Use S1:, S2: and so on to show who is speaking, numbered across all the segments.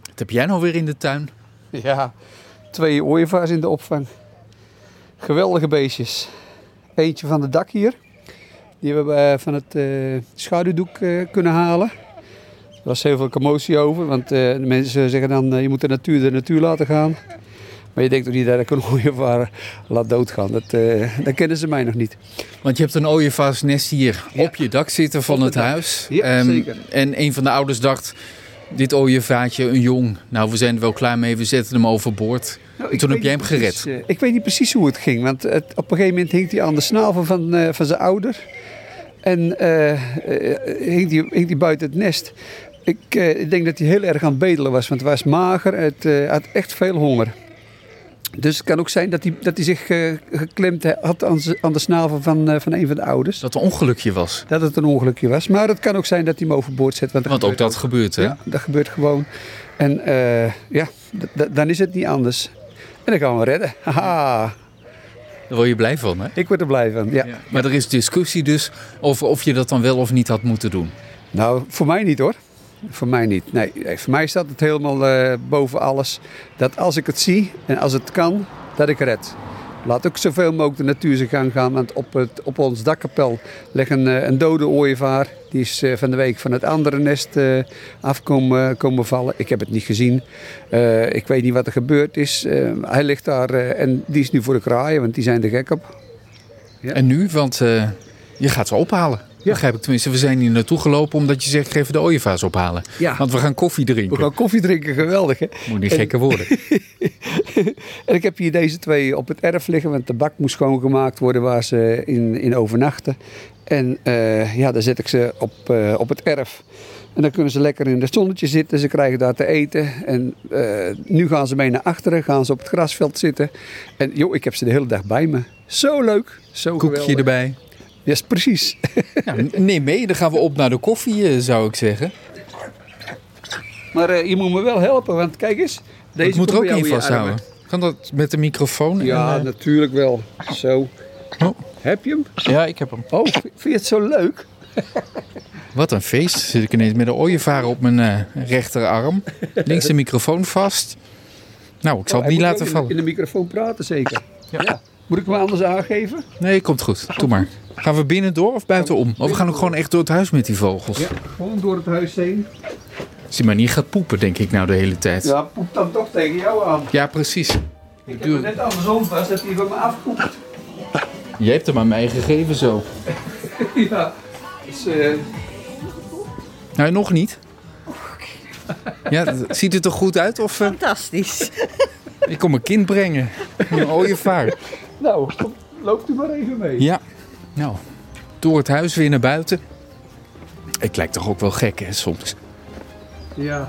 S1: Wat heb jij nou weer in de tuin?
S2: Ja, twee ooievaars in de opvang. Geweldige beestjes. Eentje van de dak hier. Die hebben we eh, van het eh, schaduwdoek eh, kunnen halen. Er was heel veel commotie over, want eh, de mensen zeggen dan eh, je moet de natuur de natuur laten gaan. Maar je denkt toch niet dat ik een ooievaar laat doodgaan. Dat, eh, dan kennen ze mij nog niet.
S1: Want je hebt een ooievaarsnest hier
S2: Ja.
S1: op je dak zitten van
S2: Op
S1: het
S2: het dak.
S1: huis.
S2: Ja,
S1: Ehm,
S2: zeker.
S1: En een van de ouders dacht, dit ooievaartje, een jong. Nou, we zijn er wel klaar mee, we zetten hem overboord.
S2: Nou,
S1: En
S2: ik
S1: toen heb
S2: weet
S1: jij hem
S2: niet
S1: gered.
S2: precies, eh, ik weet niet precies hoe het ging, want het, op een gegeven moment hing hij aan de snavel van, eh, van zijn ouder. En eh, eh, hing, die, hing die buiten het nest. Ik, eh, ik denk dat hij heel erg aan het bedelen was, want hij was mager. Het eh, had echt veel honger. Dus het kan ook zijn dat hij, dat hij zich eh, geklemd had aan, z'n- aan de snavel van, eh, van een van de ouders.
S1: Dus Dat een ongelukje was.
S2: Dat het een ongelukje was. Maar het kan ook zijn dat hij hem overboord zet. Want,
S1: Want ook dat gebeurt, hè?
S2: ja, dat gebeurt gewoon. En eh, ja, d- d- dan is het niet anders. En dan gaan we redden. Haha,
S1: Daar word je blij van, hè?
S2: ik word er blij van. Ja.
S1: Maar er is discussie dus over of je dat dan wel of niet had moeten doen.
S2: Nou, voor mij niet hoor. Voor mij niet. Nee, nee, voor mij staat het helemaal eh, boven alles. Dat als ik het zie en als het kan, dat ik red. Laat ook zoveel mogelijk de natuur zijn gang gaan. Want op, het, op ons dakkapel ligt een, eh, een dode ooievaar. Die is eh, van de week van het andere nest eh af komen, eh, komen vallen. Ik heb het niet gezien. Eh, ik weet niet wat er gebeurd is. Eh, hij ligt daar eh, en die is nu voor de kraaien, want die zijn er gek op. Ja.
S1: En nu, want eh, je gaat ze ophalen. Begrijp ik tenminste. We zijn hier naartoe gelopen omdat je zegt, geef de ooievaars ophalen.
S2: Ja.
S1: Want we gaan koffie
S2: We
S1: drinken.
S2: gaan koffie drinken, geweldig hè?
S1: Moet niet gekker worden.
S2: En ik heb hier deze twee op het erf liggen, want de bak moest schoongemaakt worden waar ze in, in overnachten. En eh, ja, daar zet ik ze op, eh, op het erf. En dan kunnen ze lekker in het zonnetje zitten, ze krijgen daar te eten. En eh, nu gaan ze mee naar achteren, gaan ze op het grasveld zitten. En joh, ik heb ze de hele dag bij me. Zo leuk, zo
S1: Koekje
S2: geweldig.
S1: erbij.
S2: Ja, is precies.
S1: Ja, Nou, neem mee, dan gaan we op naar de koffie, eh, zou ik zeggen.
S2: Maar eh, je moet me wel helpen, want kijk eens. Deze
S1: ik moet er
S2: komt
S1: ook
S2: bij jou
S1: in
S2: in je
S1: vasthouden.
S2: armen.
S1: Kan dat met de microfoon?
S2: Ja,
S1: en, eh,
S2: natuurlijk wel. Zo.
S1: Oh.
S2: Heb je hem?
S1: ja, ik heb hem.
S2: Oh, vind je het zo leuk?
S1: Wat een feest. Zit ik ineens met een ooievaar op mijn eh, rechterarm. Links de microfoon vast. Nou, ik zal
S2: Oh,
S1: het niet
S2: hij
S1: laten
S2: moet ook in-
S1: vallen.
S2: In de microfoon praten zeker.
S1: Ja.
S2: Ja. Moet ik hem anders aangeven?
S1: Nee, komt goed. Doe maar. Gaan we binnen door of buitenom? Of we gaan ook gewoon echt door het huis met die vogels.
S2: Gewoon door het huis heen.
S1: Als die maar niet gaat poepen, denk ik nou de hele tijd. Ja,
S2: Ja, poep dan toch tegen jou aan.
S1: precies.
S2: Ik heb
S1: Tuurlijk.
S2: het net andersom vast dat hij van me afkoept.
S1: Jij hebt hem aan mij gegeven zo.
S2: ja. Dus, eh,
S1: Nou, nog niet.
S2: Oh,
S1: Ja, d- ziet het er goed uit? Of eh,
S3: Fantastisch.
S1: ik kom een kind brengen. Een ooievaar.
S2: nou, kom, loopt u maar even mee.
S1: Ja, nou, door het huis weer naar buiten. Ik lijk toch ook wel gek, hè, soms.
S2: Ja,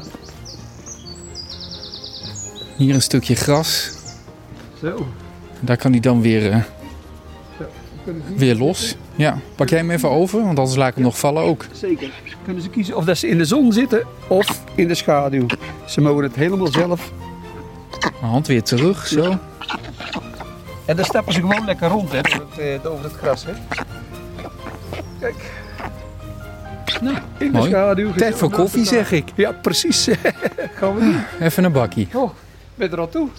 S1: Hier een stukje gras.
S2: zo.
S1: Daar kan hij dan weer, eh,
S2: Kunnen ze hier-
S1: weer los. Ja, pak jij hem even over, want anders laat ik hem nog vallen ook.
S2: Zeker. Kunnen ze kiezen of dat ze in de zon zitten of in de schaduw. Ze mogen het helemaal zelf.
S1: Mijn hand weer terug, zo.
S2: En dan stappen ze gewoon lekker rond hè, door, het, eh, over het gras. Hè. Kijk. Nou, in
S1: Mooi.
S2: de schaduw.
S1: Tijd voor
S2: gezellig Nou,
S1: koffie,
S2: naast elkaar.
S1: zeg ik.
S2: Ja, precies. Gaan we doen.
S1: Even een bakkie.
S2: Oh, ben je er al toe?